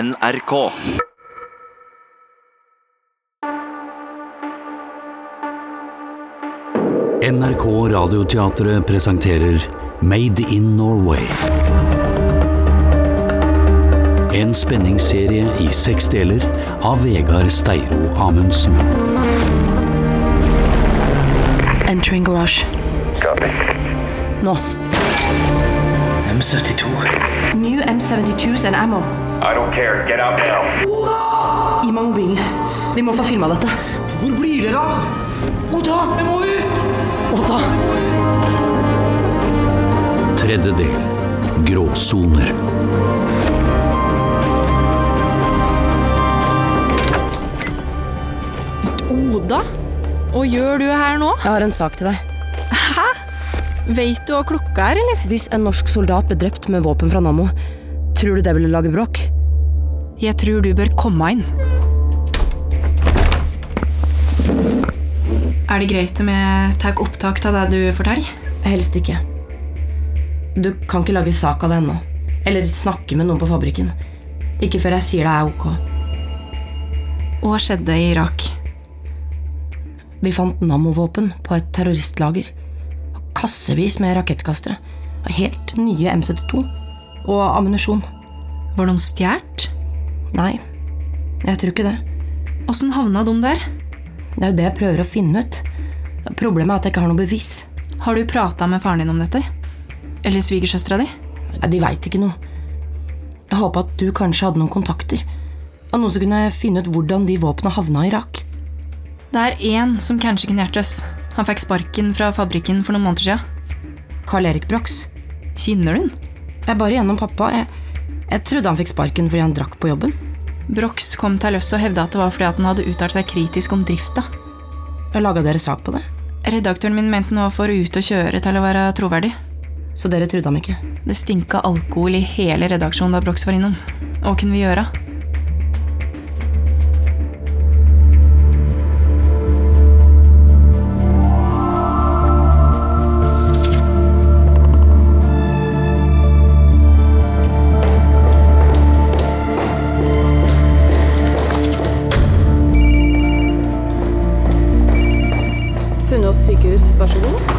NRK. NRK Radioteatret presenterer Made in Norway. En spenningsserie i seks deler av Vegard Steiro Amundsen. Entering garage. Nå. M72. New M72s and ammo. I don't care. Get out now. I med mobilen. Vi må få filma dette. Hvor blir dere av? Oda, vi må ut! Odda! Tredje del Gråsoner. Oda? Hva gjør du her nå? Jeg har en sak til deg. Vet du hva klokka er, eller? Hvis en norsk soldat ble drept med våpen fra Nammo, tror du det ville lage bråk? Jeg tror du bør komme inn. Er det greit om jeg tar opptak av det du forteller? Helst ikke. Du kan ikke lage sak av det ennå. Eller snakke med noen på fabrikken. Ikke før jeg sier det er ok. Hva skjedde i Irak? Vi fant Nammo-våpen på et terroristlager. Og Kassevis med rakettkastere. Og helt nye M72. Og ammunisjon. Var de stjålet? Nei, jeg tror ikke det. Åssen havna de der? Det er jo det jeg prøver å finne ut. Problemet er at jeg ikke har noe bevis. Har du prata med faren din om dette? Eller svigersøstera di? Nei, De veit ikke noe. Jeg håpa at du kanskje hadde noen kontakter. Av noen som kunne finne ut hvordan de våpnene havna i Irak. Det er én som kanskje kunne hjulpet oss. Han fikk sparken fra fabrikken for noen måneder siden. Carl-Erik Brox. Kjenner du han? Jeg bar igjennom pappa. Jeg, jeg trodde han fikk sparken fordi han drakk på jobben. Brox kom til oss og hevda at det var fordi at han hadde uttalt seg kritisk om drifta. Jeg laga dere sak på det, Redaktøren min mente den var for ute å kjøre til å være troverdig. så dere trodde ham ikke. Det stinka alkohol i hele redaksjonen da Brox var innom. Hva kunne vi gjøre? Sunnaas sykehus, vær så god.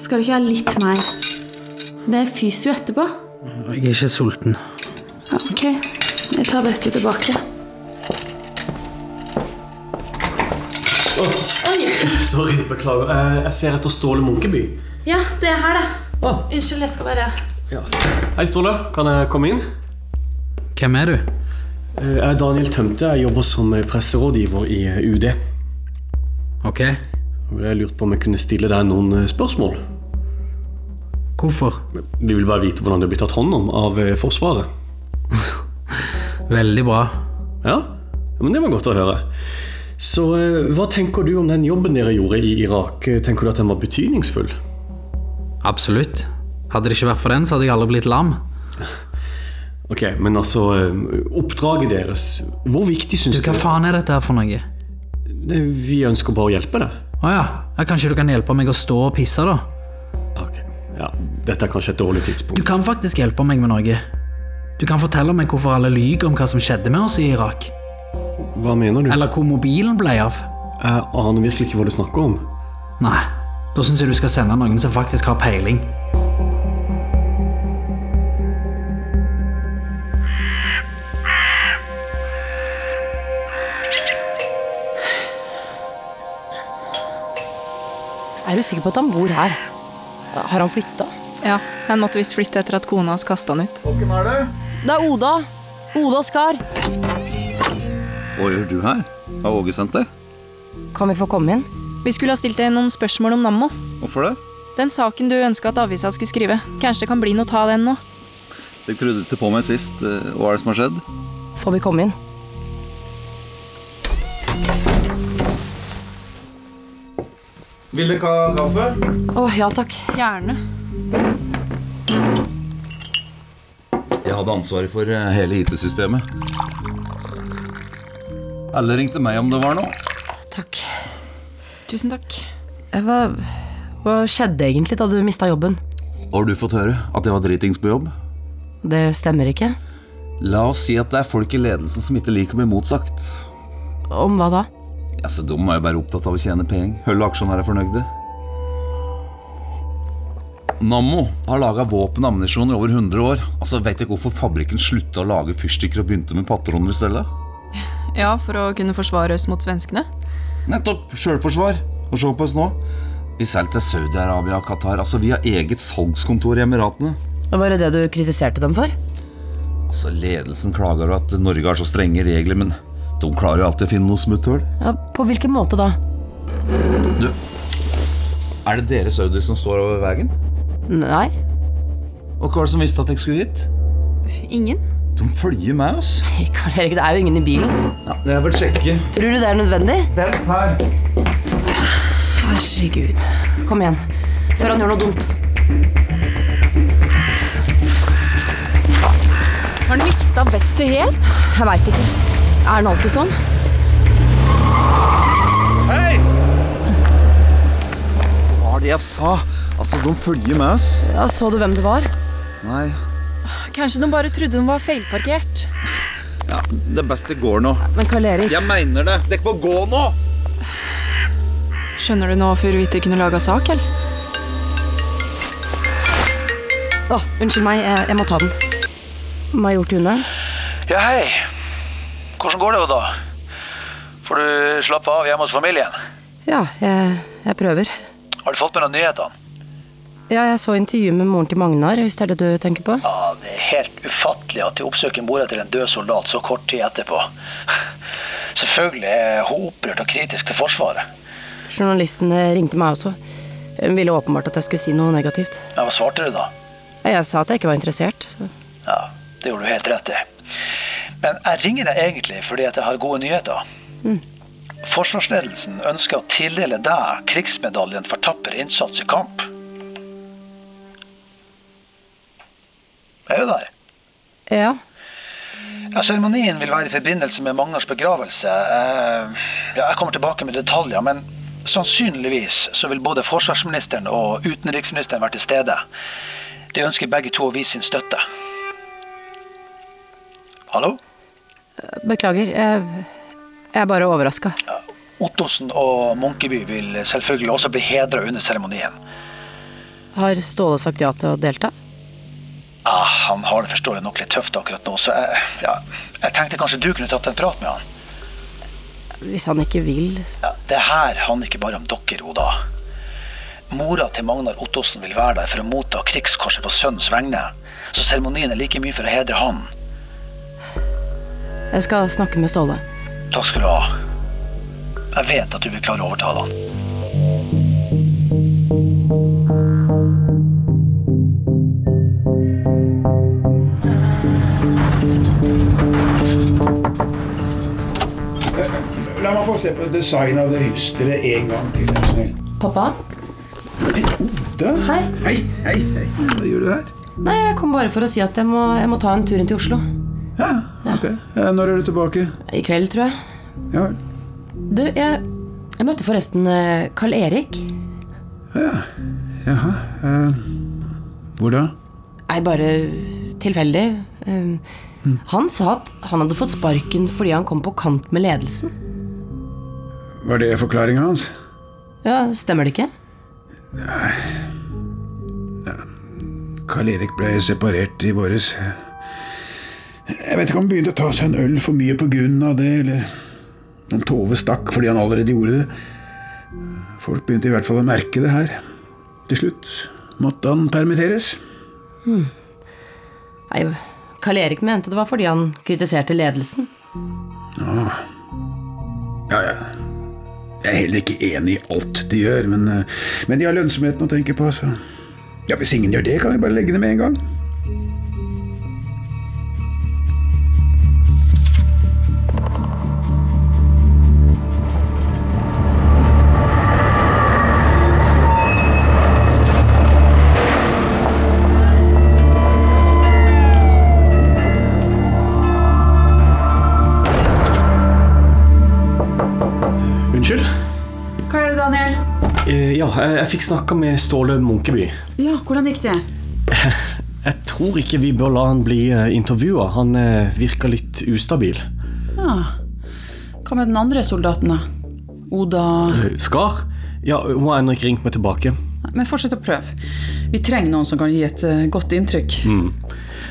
Skal du ikke ha litt mer? Det er fysio etterpå. Jeg er ikke sulten. Ja, ok, jeg tar brettet tilbake. Sorry, beklager. Eh, Jeg ser etter Ståle Munkeby. Ja, det er her, det. Unnskyld, jeg skal være Hei, Ståle. Kan jeg komme inn? Hvem er du? Eh, Jeg er Daniel Tømte. Jeg jobber som presserådgiver i eh, UD. Ok, Jeg lurte på om jeg kunne stille deg noen eh, spørsmål. hvorfor? Vi vil bare vite hvordan det blir tatt hånd om av eh, Forsvaret. Veldig bra. Ja? Ja, Men det var godt å høre. Så eh, hva tenker du om den jobben dere gjorde i Irak? Eh, Tenker du at den var betydningsfull? Absolutt. Hadde det ikke vært for den, så hadde jeg aldri blitt lam. Ok, men altså eh, Oppdraget deres, hvor viktig Du, syns hva faen er dette her for noe? Det- Vi ønsker bare å hjelpe deg. Åja, ja, kanskje du kan hjelpe meg å stå og pisse da? Ok, ja, Dette er kanskje et dårlig tidspunkt. Du kan faktisk hjelpe meg med noe. Du kan fortelle meg hvorfor alle lyger om hva som skjedde med oss i Irak. Hva mener du? Eller hvor mobilen ble av. Jeg aner virkelig ikke hva du snakker om. Nei, da synes jeg du skal sende noen som faktisk har peiling. Er du sikker på at han bor her? Har han flytta? Ja, Han måtte visst flytte etter at kona hans kasta han ut. Det er Oda. Oda Skar. Hva gjør du her? Har Åge sendt deg? Kan vi få komme inn? Vi skulle ha stilt deg noen spørsmål om Nammo. Hvorfor det? Den saken du ønska at avisa skulle skrive. Kanskje det kan bli noe av den nå? Jeg trodde ikke på meg sist. Eh, Hva er det som har skjedd? Får vi komme inn? Vil dere ha kaffe? Å, ja takk. Gjerne. Jeg hadde ansvaret for eh, hele IT-systemet. Alle ringte meg om det var noe. Takk. Tusen takk. Eh, Hva, hva skjedde egentlig da du mista jobben? Har du fått høre at jeg var dritings på jobb? Det stemmer ikke. La oss si at det er folk i ledelsen som ikke liker å bli motsagt. Om hva da? Ja, så dum er jo bare opptatt av å tjene penger. Høll og aksjonærer er fornøyde. Nammo har laga våpen og ammunisjon i over 100 år. Altså, Veit dere hvorfor fabrikken slutta å lage fyrstikker og begynte med patroner i stedet? Ja, for å kunne forsvare oss mot svenskene. Nettopp! Sjølforsvar. Og se på oss nå. Vi selger til Saudi-Arabia og Qatar. Altså, vi har eget salgskontor i Emiratene. Var det det du kritiserte dem for? Altså, Ledelsen klager over at Norge har så strenge regler, men de klarer jo alltid å finne noe smutthull. Ja, På hvilken måte da? Du, er det dere saudier som står over veien? Nei. Og hva var det som visste at jeg skulle hit? Ingen? De følger med oss. Karl Erik, det er jo ingen i bilen. Ja, jeg vil sjekke. Tror du det er nødvendig? Vent her. Herregud. Kom igjen. Før han gjør noe dumt. Har han mista vettet helt? Jeg veit ikke. Er han alltid sånn? Hei! Hva var det jeg sa? Altså, de følger med oss. Ja, Så du hvem det var? Nei. Kanskje de bare trodde de var feilparkert. Ja, det beste går nå. Men Karl Erik Jeg mener det. Dere må gå nå! Skjønner du nå Furuvite kunne laga sak, eller? Å, unnskyld meg, jeg, jeg må ta den. Major Tune? Ja, hei. Hvordan går det jo da? Får du slappe av hjemme hos familien? Ja, jeg, jeg prøver. Har du fått med deg nyhetene? Ja, jeg så intervjuet med moren til Magnar, hvis det er det du tenker på. Ja, det er helt ufattelig at de oppsøker mora til en død soldat så kort tid etterpå. Selvfølgelig er hun opprørt og kritisk til Forsvaret. Journalisten eh, ringte meg også. Hun ville åpenbart at jeg skulle si noe negativt. Ja, hva svarte du da? Jeg sa at jeg ikke var interessert. Så. Ja, det gjorde du helt rett i. Men jeg ringer deg egentlig fordi at jeg har gode nyheter. Mm. Forsvarsledelsen ønsker å tildele deg krigsmedaljen for tapper innsats i kamp. Er du der? Ja. Ja, Seremonien vil være i forbindelse med Magnars begravelse. Eh, ja, jeg kommer tilbake med detaljer, men sannsynligvis så vil både forsvarsministeren og utenriksministeren være til stede. De ønsker begge to å vise sin støtte. Hallo? Beklager, jeg, jeg er bare overraska. Ottosen og Munkeby vil selvfølgelig også bli hedra under seremonien. Har Ståle sagt ja til å delta? Ja, Ah, han har det forståelig nok litt tøft akkurat nå, så jeg, ja, jeg tenkte kanskje du kunne tatt en prat med han. Hvis han ikke vil Ja, det her handler ikke bare om dere, Oda. Mora til Magnar Ottosen vil være der for å motta krigskorset på sønnens vegne, så seremonien er like mye for å hedre han. Jeg skal snakke med Ståle. Takk skal du ha. Jeg vet at du vil klare å overtale han. La meg få se på design av det hysteret en gang til. er du snill. Pappa? Da. Hei. Hei, hei, hei. Hva gjør du her? Nei, jeg kom bare for å si at jeg må, jeg må ta en tur inn til Oslo. Ok, eh, Når er du tilbake? I kveld, tror jeg. Ja vel. Du, jeg, jeg møtte forresten eh, Karl Erik. Jaha. eh, hvor da? Nei, bare tilfeldig. Eh, Han sa at han hadde fått sparken fordi han kom på kant med ledelsen. Var det forklaringa hans? Ja, Stemmer det ikke? Karl Erik ble separert i våres. Jeg vet ikke om han begynte å ta seg en øl for mye på grunn av det, eller om Tove stakk fordi han allerede gjorde det. Folk begynte i hvert fall å merke det her. Til slutt måtte han permitteres. Hmm. Nei, Karl Erik mente det var fordi han kritiserte ledelsen. Ja. ja, ja. Jeg er heller ikke enig i alt de gjør, men, eh, men de har lønnsomheten å tenke på. Så. Ja, Hvis ingen gjør det, kan vi bare legge det med en gang. Unnskyld? Hva gjør du, Daniel? Eh, ja, jeg, jeg fikk snakka med Ståle Munkeby. Ja, hvordan gikk det? Jeg tror ikke vi bør la han bli intervjua. Han eh, virker litt ustabil. Ja. Hva med den andre soldaten, da? Oda Eh, Skar? Ja, hun har ennå ikke ringt meg tilbake. Nei, Men fortsett å prøve. Vi trenger noen som kan gi et eh, godt inntrykk. Mm.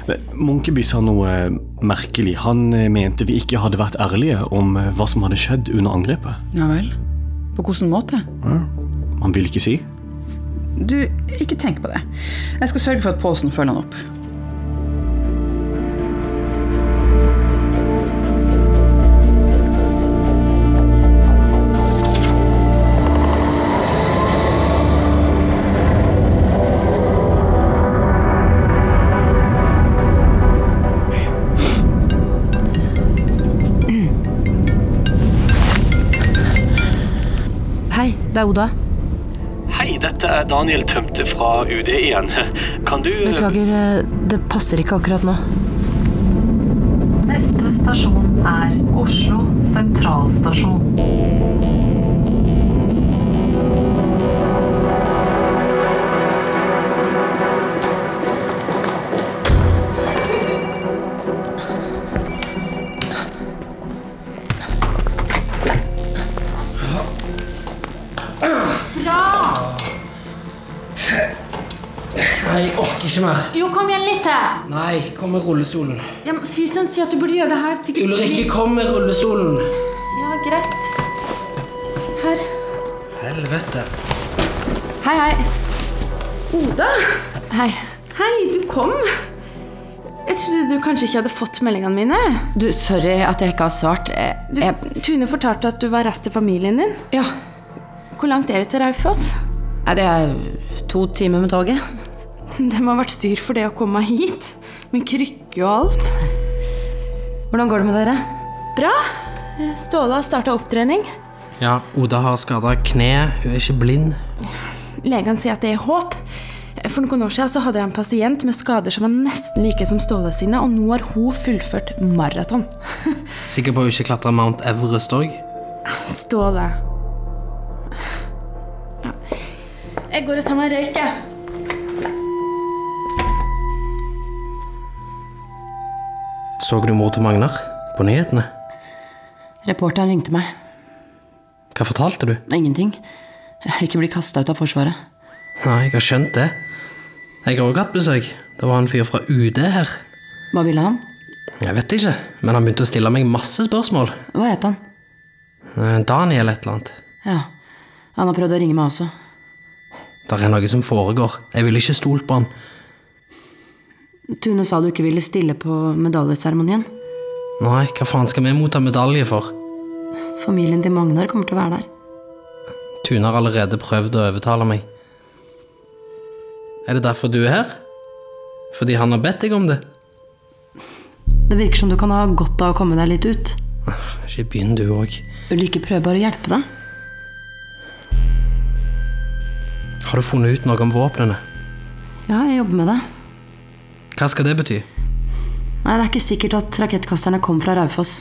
Men Munkeby sa noe eh, merkelig. Han eh, mente vi ikke hadde vært ærlige om eh, hva som hadde skjedd under angrepet. Ja vel. På hvilken måte? Han ville ikke si. Du, ikke tenk på det. Jeg skal sørge for at Påsen følger han opp. Hei, det er Oda. Hei, dette er Daniel Tømte fra UD igjen. Kan du Beklager, eh, det passer ikke akkurat nå. Neste stasjon er Oslo sentralstasjon. Bra! Ah. Nei, jeg orker ikke mer. Jo, kom igjen litt til! Nei, kom med rullestolen. Ja, men Fy søren, si at du burde gjøre det her. Sikkert Ulrikke, kom med rullestolen. Ja, greit. Her. Helvete. Hei, hei. Oda? Hei. Hei, du kom. Jeg trodde du kanskje ikke hadde fått meldingene mine. Du, sorry at jeg ikke har svart. Eh, Jeg, Du, jeg, Tune fortalte at du var rest av familien din. Ja. Hvor langt er det til Raufoss? nei, det er to timer med toget. Det må ha vært styr for det å komme hit. Med krykke og alt. Hvordan går det med dere? Bra. Ståle har starta opptrening. Ja, Oda har skada kneet. Hun er ikke blind. Legene sier at det er håp. For noen år siden så hadde jeg en pasient med skader som var nesten like som Ståle sine, og nå har hun fullført maraton. Sikker på hun ikke klatrer Mount Everest òg? Ståle. Ja. Jeg går og tar meg en røyk, jeg. Så du mor til Magnar? På nyhetene? Reporteren ringte meg. Hva fortalte du? Ingenting. Ikke bli kasta ut av Forsvaret. Nei, jeg har skjønt det. Jeg har òg hatt besøk. Det var en fyr fra UD her. Hva ville han? Jeg vet ikke, men han begynte å stille meg masse spørsmål. Hva het han? Eh, Daniel et eller annet. Ja, han har prøvd å ringe meg også. Det er noe som foregår. Jeg ville ikke stolt på han. Tune sa du ikke ville stille på medaljeseremonien. Nei, hva faen skal vi motta medalje for? Familien til Magnar kommer til å være der. Tune har allerede prøvd å overtale meg. Er det derfor du er her? Fordi han har bedt deg om det? Det virker som du kan ha godt av å komme deg litt ut. Ikke begynn du òg. Vil du ikke prøve bare å hjelpe deg? Har du funnet ut noe om våpnene? Ja, jeg jobber med det. Hva skal det bety? Nei, det er ikke sikkert at rakettkasterne kom fra Raufoss.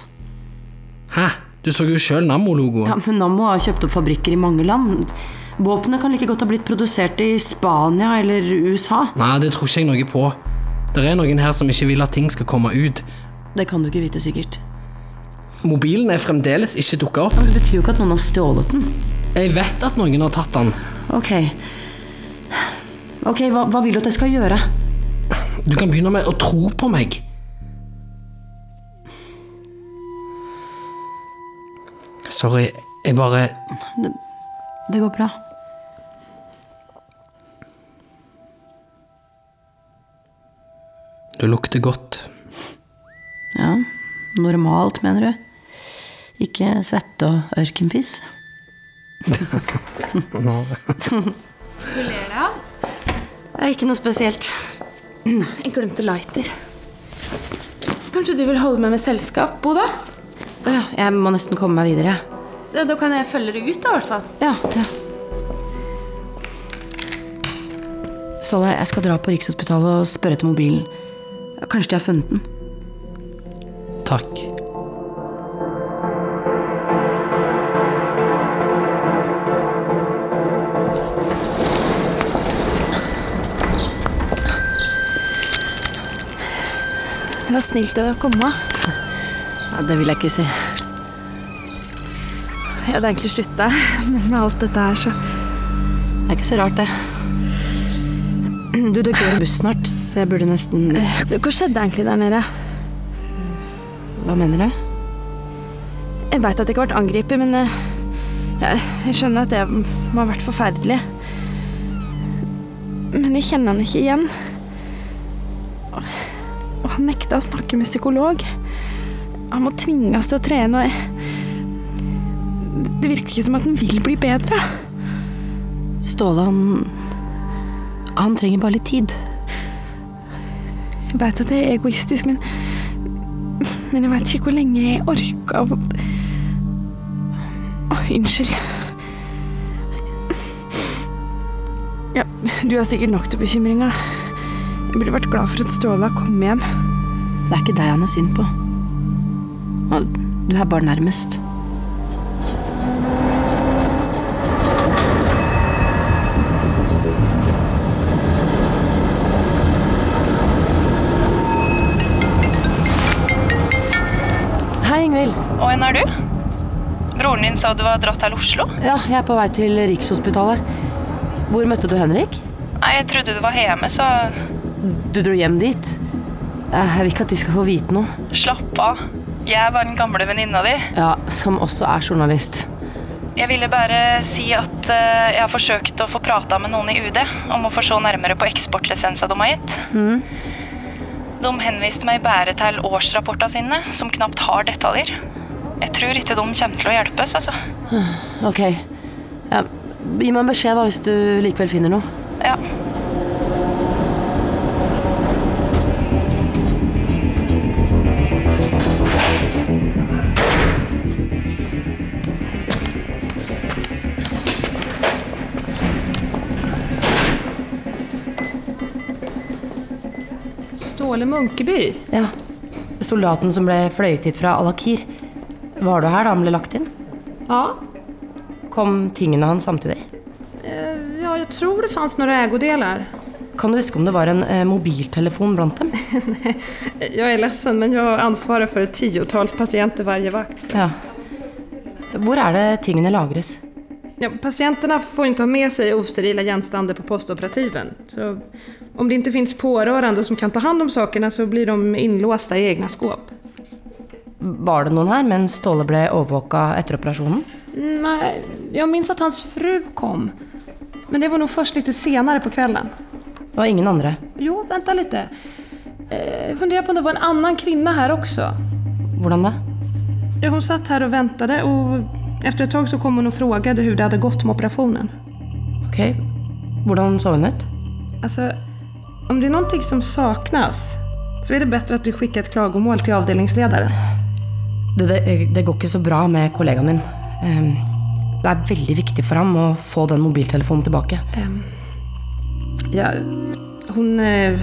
Hæ? Du så jo sjøl Nammo-logoen. Ja, men Nammo har kjøpt opp fabrikker i mange land. Våpenet kan like godt ha blitt produsert i Spania eller USA. Nei, det tror ikke jeg noe på. Det er noen her som ikke vil at ting skal komme ut. Det kan du ikke vite sikkert. Mobilen er fremdeles ikke dukka opp. Men det betyr jo ikke at noen har stjålet den. Jeg vet at noen har tatt den. Ok. Ok, hva, hva vil du at jeg skal gjøre? Du kan begynne med å tro på meg. Sorry, jeg bare Det, det går bra. Du lukter godt. Ja, normalt, mener du? Ikke svette og ørkenpiss? Hvor ler du av? Det er ikke noe spesielt. Jeg glemte lighter. Kanskje du vil holde meg med selskap, Boda? Ja, jeg må nesten komme meg videre. Ja, Da kan jeg følge deg ut, da, i hvert fall. Ja, ja. Solle, jeg skal dra på Rikshospitalet og spørre etter mobilen. Kanskje de har funnet den? Takk. Det var snilt av deg å komme. Ja, det vil jeg ikke si. Jeg hadde egentlig slutta, men med alt dette her, så Det er ikke så rart, det. Du dukker en buss snart, så jeg burde nesten Du, Hva skjedde egentlig der nede? Hva mener du? Jeg veit at jeg ikke ble angrepet, men eh, jeg, jeg skjønner at det må ha vært forferdelig. Men jeg kjenner han ikke igjen. Og han nekta å snakke med psykolog. Han må tvinges til å trene, og jeg, det virker ikke som at han vil bli bedre. Ståle, han Han trenger bare litt tid. Jeg veit at det er egoistisk, men Men jeg veit ikke hvor lenge jeg orka å Å, Unnskyld. Ja, du har sikkert nok til bekymringa. Jeg burde vært glad for at Ståle har kommet hjem. Det er ikke deg han er sint på. Og Du er bare nærmest. Hei, Ingvild. Og en er du? Broren din sa du var dratt til Oslo? Ja, jeg er på vei til Rikshospitalet. Hvor møtte du Henrik? Nei, jeg trodde du var hjemme, så Du dro hjem dit? Eh, Jeg vil ikke at de skal få vite noe. slapp av. Jeg var den gamle venninna di. Ja, Som også er journalist. Jeg ville bare si at eh, jeg har forsøkt å få prata med noen i UD om å få se nærmere på eksportlisensa de har gitt. Mm. De henviste meg bare til årsrapporta sine, som knapt har detaljer. Jeg tror ikke de kommer til å hjelpe oss, altså. Ok. Ja, gi meg en beskjed da hvis du likevel finner noe. Ja. Ståle Munkeby? Ja. Soldaten som ble fløyet hit fra Al-Akir. Var du her da han ble lagt inn? Ja. Kom tingene hans samtidig? Eh, Ja, jag tror det fanns några ägodelar. Kan du huske om det var en eh, mobiltelefon blant dem? Eh, Jag är ledsen, men jag ansvarar för tiotals patienter varje vakt. så- Ja. Hvor er det tingene lagres? Ja, patienterna får inte ha med sig osterila genstander på postoperativen. Så om det inte finns pårörande som kan ta hand om sakerna så blir de inlåsta i egna skåp. Var det noen her mens Ståle ble overvåka etter operasjonen? Mm, Nej, jag minns att hans fru kom. Men det var nog først litt senere på kvällen. Og ingen andre? Jo, vänta lite. Eh, Jag funderar på om det var en annan kvinna här också. Hvordan da? Ja, Hon satt här och väntade och efter ett tag så kom hon och frågade hur det hade gått med operationen. Ok, hvordan så hun ut? Alltså, Altså, om det är någonting som saknas så är det bättre att du skickar ett klagomål till avdelningsledaren. Det, det, det går ikke så bra med kollegaen min. Ehm, det er veldig viktig for ham å få den mobiltelefonen tilbake. Ehm, ja, hon, eh,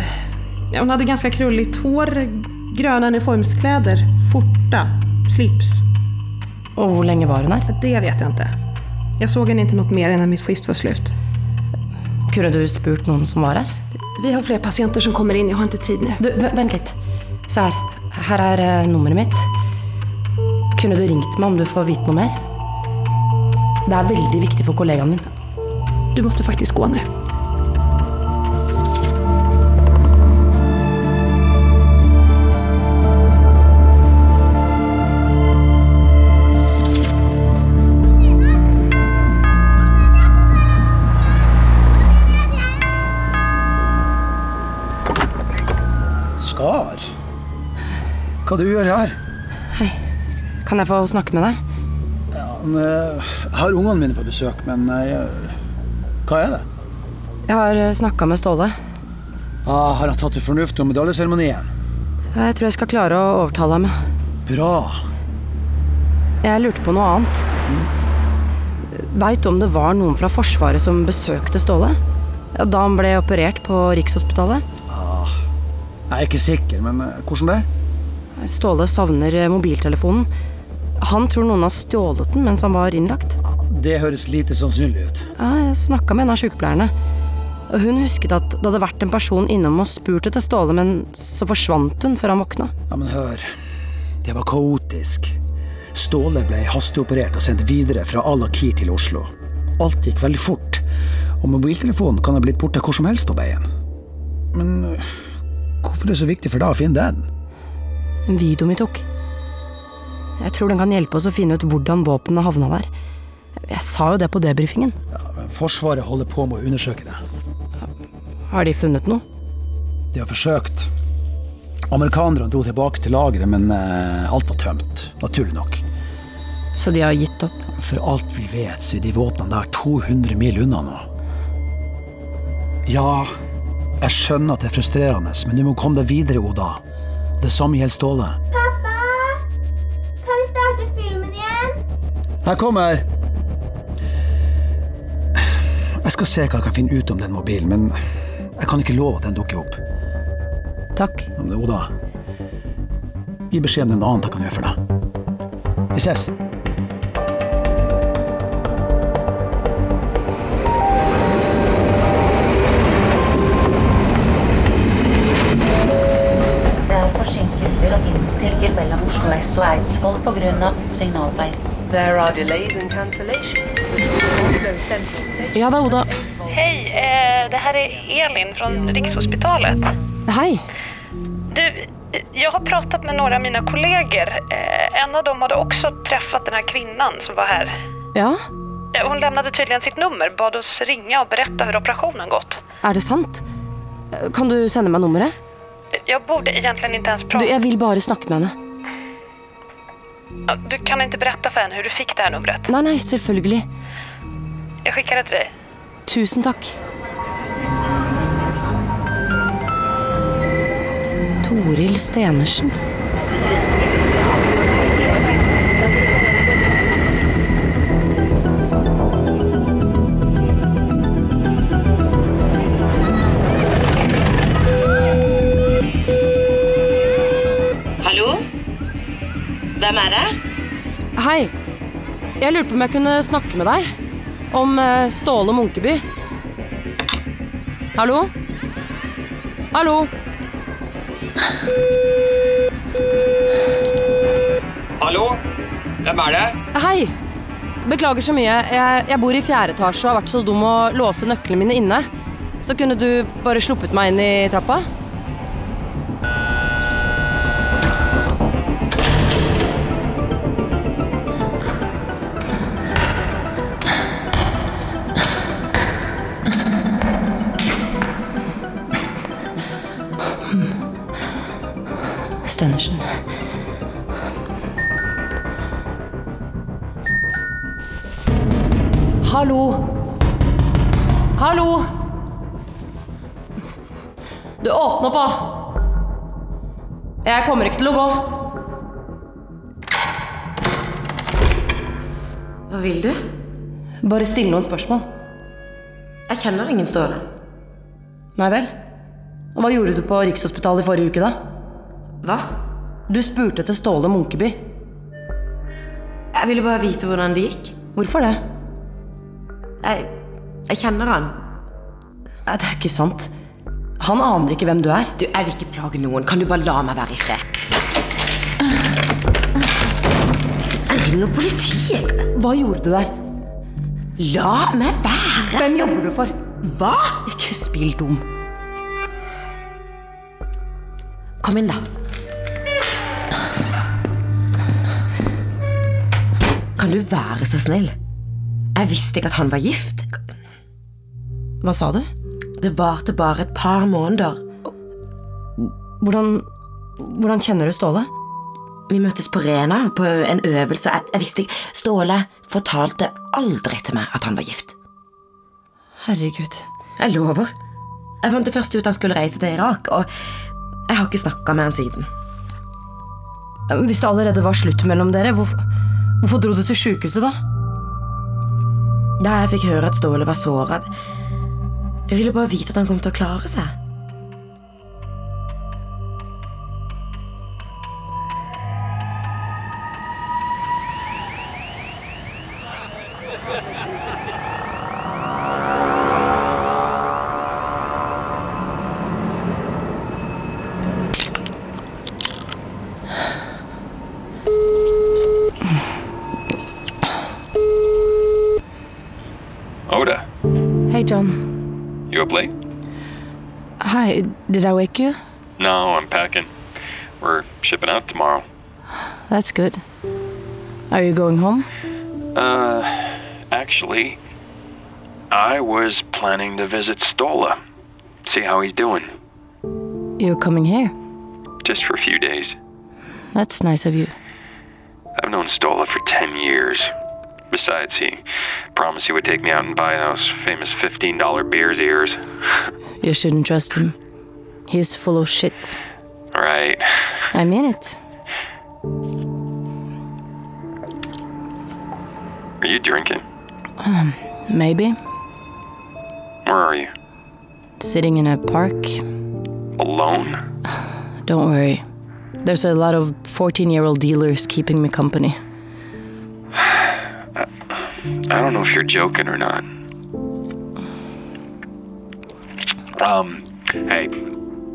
ja, hon hade ganska krulligt hår, gröna uniformskläder, skjorta, slips. Och hur länge var hon här? Det vet jag inte. Jag såg henne inte något mer innan mitt skift var slut. Kunne du spurt noen som var her? Vi har fler patienter som kommer in, jag har inte tid nu. Du, v- vent litt. Se her. Her er eh, nummeret mitt. Kunne du ringt meg om du får vite noe mer? Det er veldig viktig for kollegaen min. Du måste faktiskt gå nu. Skar? Hva du gjør her? Kan jeg få snakke med deg? Ja, men, eh, jeg har ungene mine på besøk, men eh, jeg, hva er det? Jeg har snakka med Ståle. Ah, har han tatt til fornuft om medaljeseremonien? Jeg tror jeg skal klare å overtale ham. Bra. Jeg lurte på noe annet. Veit du om det var noen fra Forsvaret som besøkte Ståle? Ja, Da han ble operert på Rikshospitalet? Ah, jeg er ikke sikker, men eh, hvordan det? Ståle savner eh, mobiltelefonen. Han tror noen har stjålet den mens han var innlagt. Det høres lite sannsynlig ut. Ja, jeg snakka med en av sykepleierne. Og Hun husket at det hadde vært en person innom og spurt etter Ståle, men så forsvant hun før han våkna. Ja, men hør. Det var kaotisk. Ståle ble hasteoperert og sendt videre fra Alakir til Oslo. Alt gikk veldig fort, og mobiltelefonen kan ha blitt borte hvor som helst på veien. Men øh, hvorfor er det så viktig for deg å finne den? En video vi tok. Jeg tror den kan hjelpe oss å finne ut hvordan våpenet havna der. Jeg sa jo det på debrifingen. Forsvaret holder på med å undersøke det. Har de funnet noe? De har forsøkt. Amerikanerne dro tilbake til lageret, men eh, alt var tømt. Naturlig nok. Så de har gitt opp? For alt vi vet, så er de våpnene der 200 mil unna nå. Ja, jeg skjønner at det er frustrerende, men du må komme deg videre, Oda. Det samme gjelder Ståle. Pappa! Kan vi starte filmen igjen? Jeg kommer! Jeg skal se hva jeg kan finne ut om den mobilen, men jeg kan ikke love at den dukker opp. Takk. Men Oda, gi beskjed om det er noe annet jeg kan gjøre for deg. Vi ses. Det er forsinkelser og innstillinger mellom Oslo S og Eidsvoll pga. signalfeil. There are delays and cancellations. Oslo Central Station. Ja, det er Oda. Hej, eh, det här är Elin från Rikshospitalet. Hei. Du, eh, jag har pratat med några av mina kollegor. Eh, en av dem hade också träffat den här kvinnan som var här. Ja, Eh, hon lämnade tydligen sitt nummer, bad oss ringa og berätta hur operationen gått. er det sant? Kan du sende meg nummeret? Eh, Jag borde egentligen inte ens Du, prata... jeg vil bare snakke med henne. Ja, Du kan inte berätta för henne hur du fick det här numret. Nei, nei, selvfølgelig. Jag skickar det till dig. Tusen takk. Toril Stenersen. Hallo? Hvem er det? Hei. Jeg lurte på om jeg kunne snakke med deg om eh, Ståle Munkeby. Hallo? Hallo? Hallo? Hvem er det? Hei. Beklager så mye. Jeg, jeg bor i fjerde etasje og har vært så dum å låse nøklene mine inne. Så kunne du bare sluppet meg inn i trappa? Stenersen. Hallo! Hallo! Du, åpne opp, da! Jeg kommer ikke til å gå. Hva vil du? Bare still noen spørsmål. Jeg kjenner ingen Ståle. Nei vel? Og hva gjorde du på Rikshospitalet i forrige uke, da? Hva? Du spurte etter Ståle Munkeby. Jeg ville bare vite hvordan det gikk. Hvorfor det? Jeg, jeg kjenner han. Nei, det er ikke sant. Han aner ikke hvem du er. Du, jeg vil ikke plage noen. Kan du bare la meg være i fred? Jeg ringer politiet. Hva gjorde du der? La meg være! Hvem jobber du for? Hva? Ikke spill dum. Kom inn, da. Kan du være så snill? Jeg visste ikke at han var gift. Hva sa du? Det varte bare et par måneder. Hvordan, hvordan kjenner du Ståle? Vi møttes på Rena på en øvelse. Jeg, jeg visste ikke. Ståle fortalte aldri til meg at han var gift. Herregud. Jeg lover. Jeg fant det først ut han skulle reise til Irak, og jeg har ikke snakka med han siden. Hvis det allerede var slutt mellom dere, hvorfor, hvorfor dro du til sykehuset da? Da jeg fikk høre at Ståle var såra Jeg ville bare vite at han kom til å klare seg. Did I wake you? No, I'm packing. We're shipping out tomorrow. That's good. Are you going home? Uh, actually, I was planning to visit Stola, see how he's doing, You're coming here? just for a few days. That's nice of you. I've known Stola for 10 years. Besides, he promised he would take me out and buy those famous $15 beers ears. You shouldn't trust him. He's full of shit. Right. I mean it. Are you drinking? Um, Maybe. Where are you? Sitting in a park. Alone? Don't worry. There's a lot of 14 year old dealers keeping me company. I don't know if you're joking or not. Um, hey,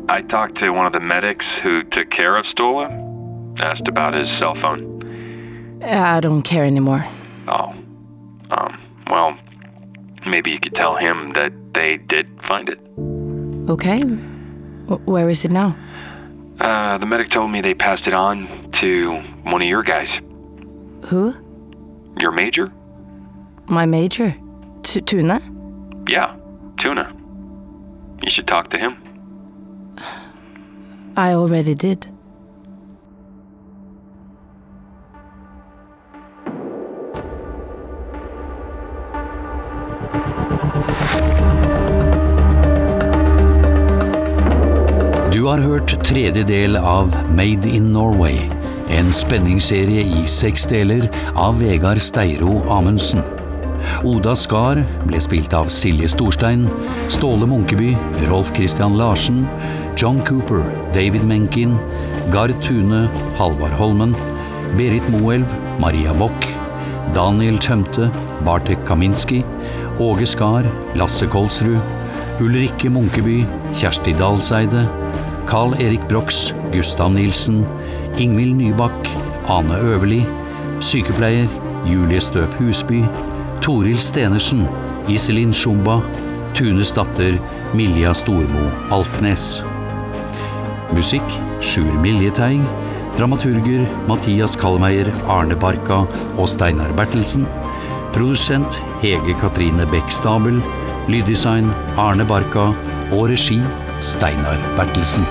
I talked to one of the medics who took care of Stola. Asked about his cell phone. I don't care anymore. Oh, um, well, maybe you could tell him that they did find it. Okay? Wh- Where is it now? Uh, the medic told me they passed it on to one of your guys. Who? Your major? My major? T- Tuna? Yeah, Tuna. You should talk to him. I already did. Du har hørt tredje del av Made in Norway, en spenningsserie i seks deler av Vegard Steiro Amundsen. Oda Skar ble spilt av Silje Storstein, Ståle Munkeby, Rolf Christian Larsen, John Cooper, David Menken, Gard Tune, Halvard Holmen, Berit Moelv, Maria Bock, Daniel Tømte, Bartek Kaminski, Åge Skar, Lasse Kolsrud, Ulrikke Munkeby, Kjersti Dalseide, Carl Erik Brox, Gustav Nilsen, Ingvild Nybakk, Ane Øverli, sykepleier Julie Støp Husby, Toril Stenersen, Iselin Sjumba, Tunes datter Milja Stormo Altnes. Musikk Sjur Miljeteig. Dramaturger Mathias Kallmeier, Arne Barka og Steinar Bertelsen. Produsent Hege Katrine Bech Stabel. Lyddesign Arne Barka. Og regi Steinar Bertelsen.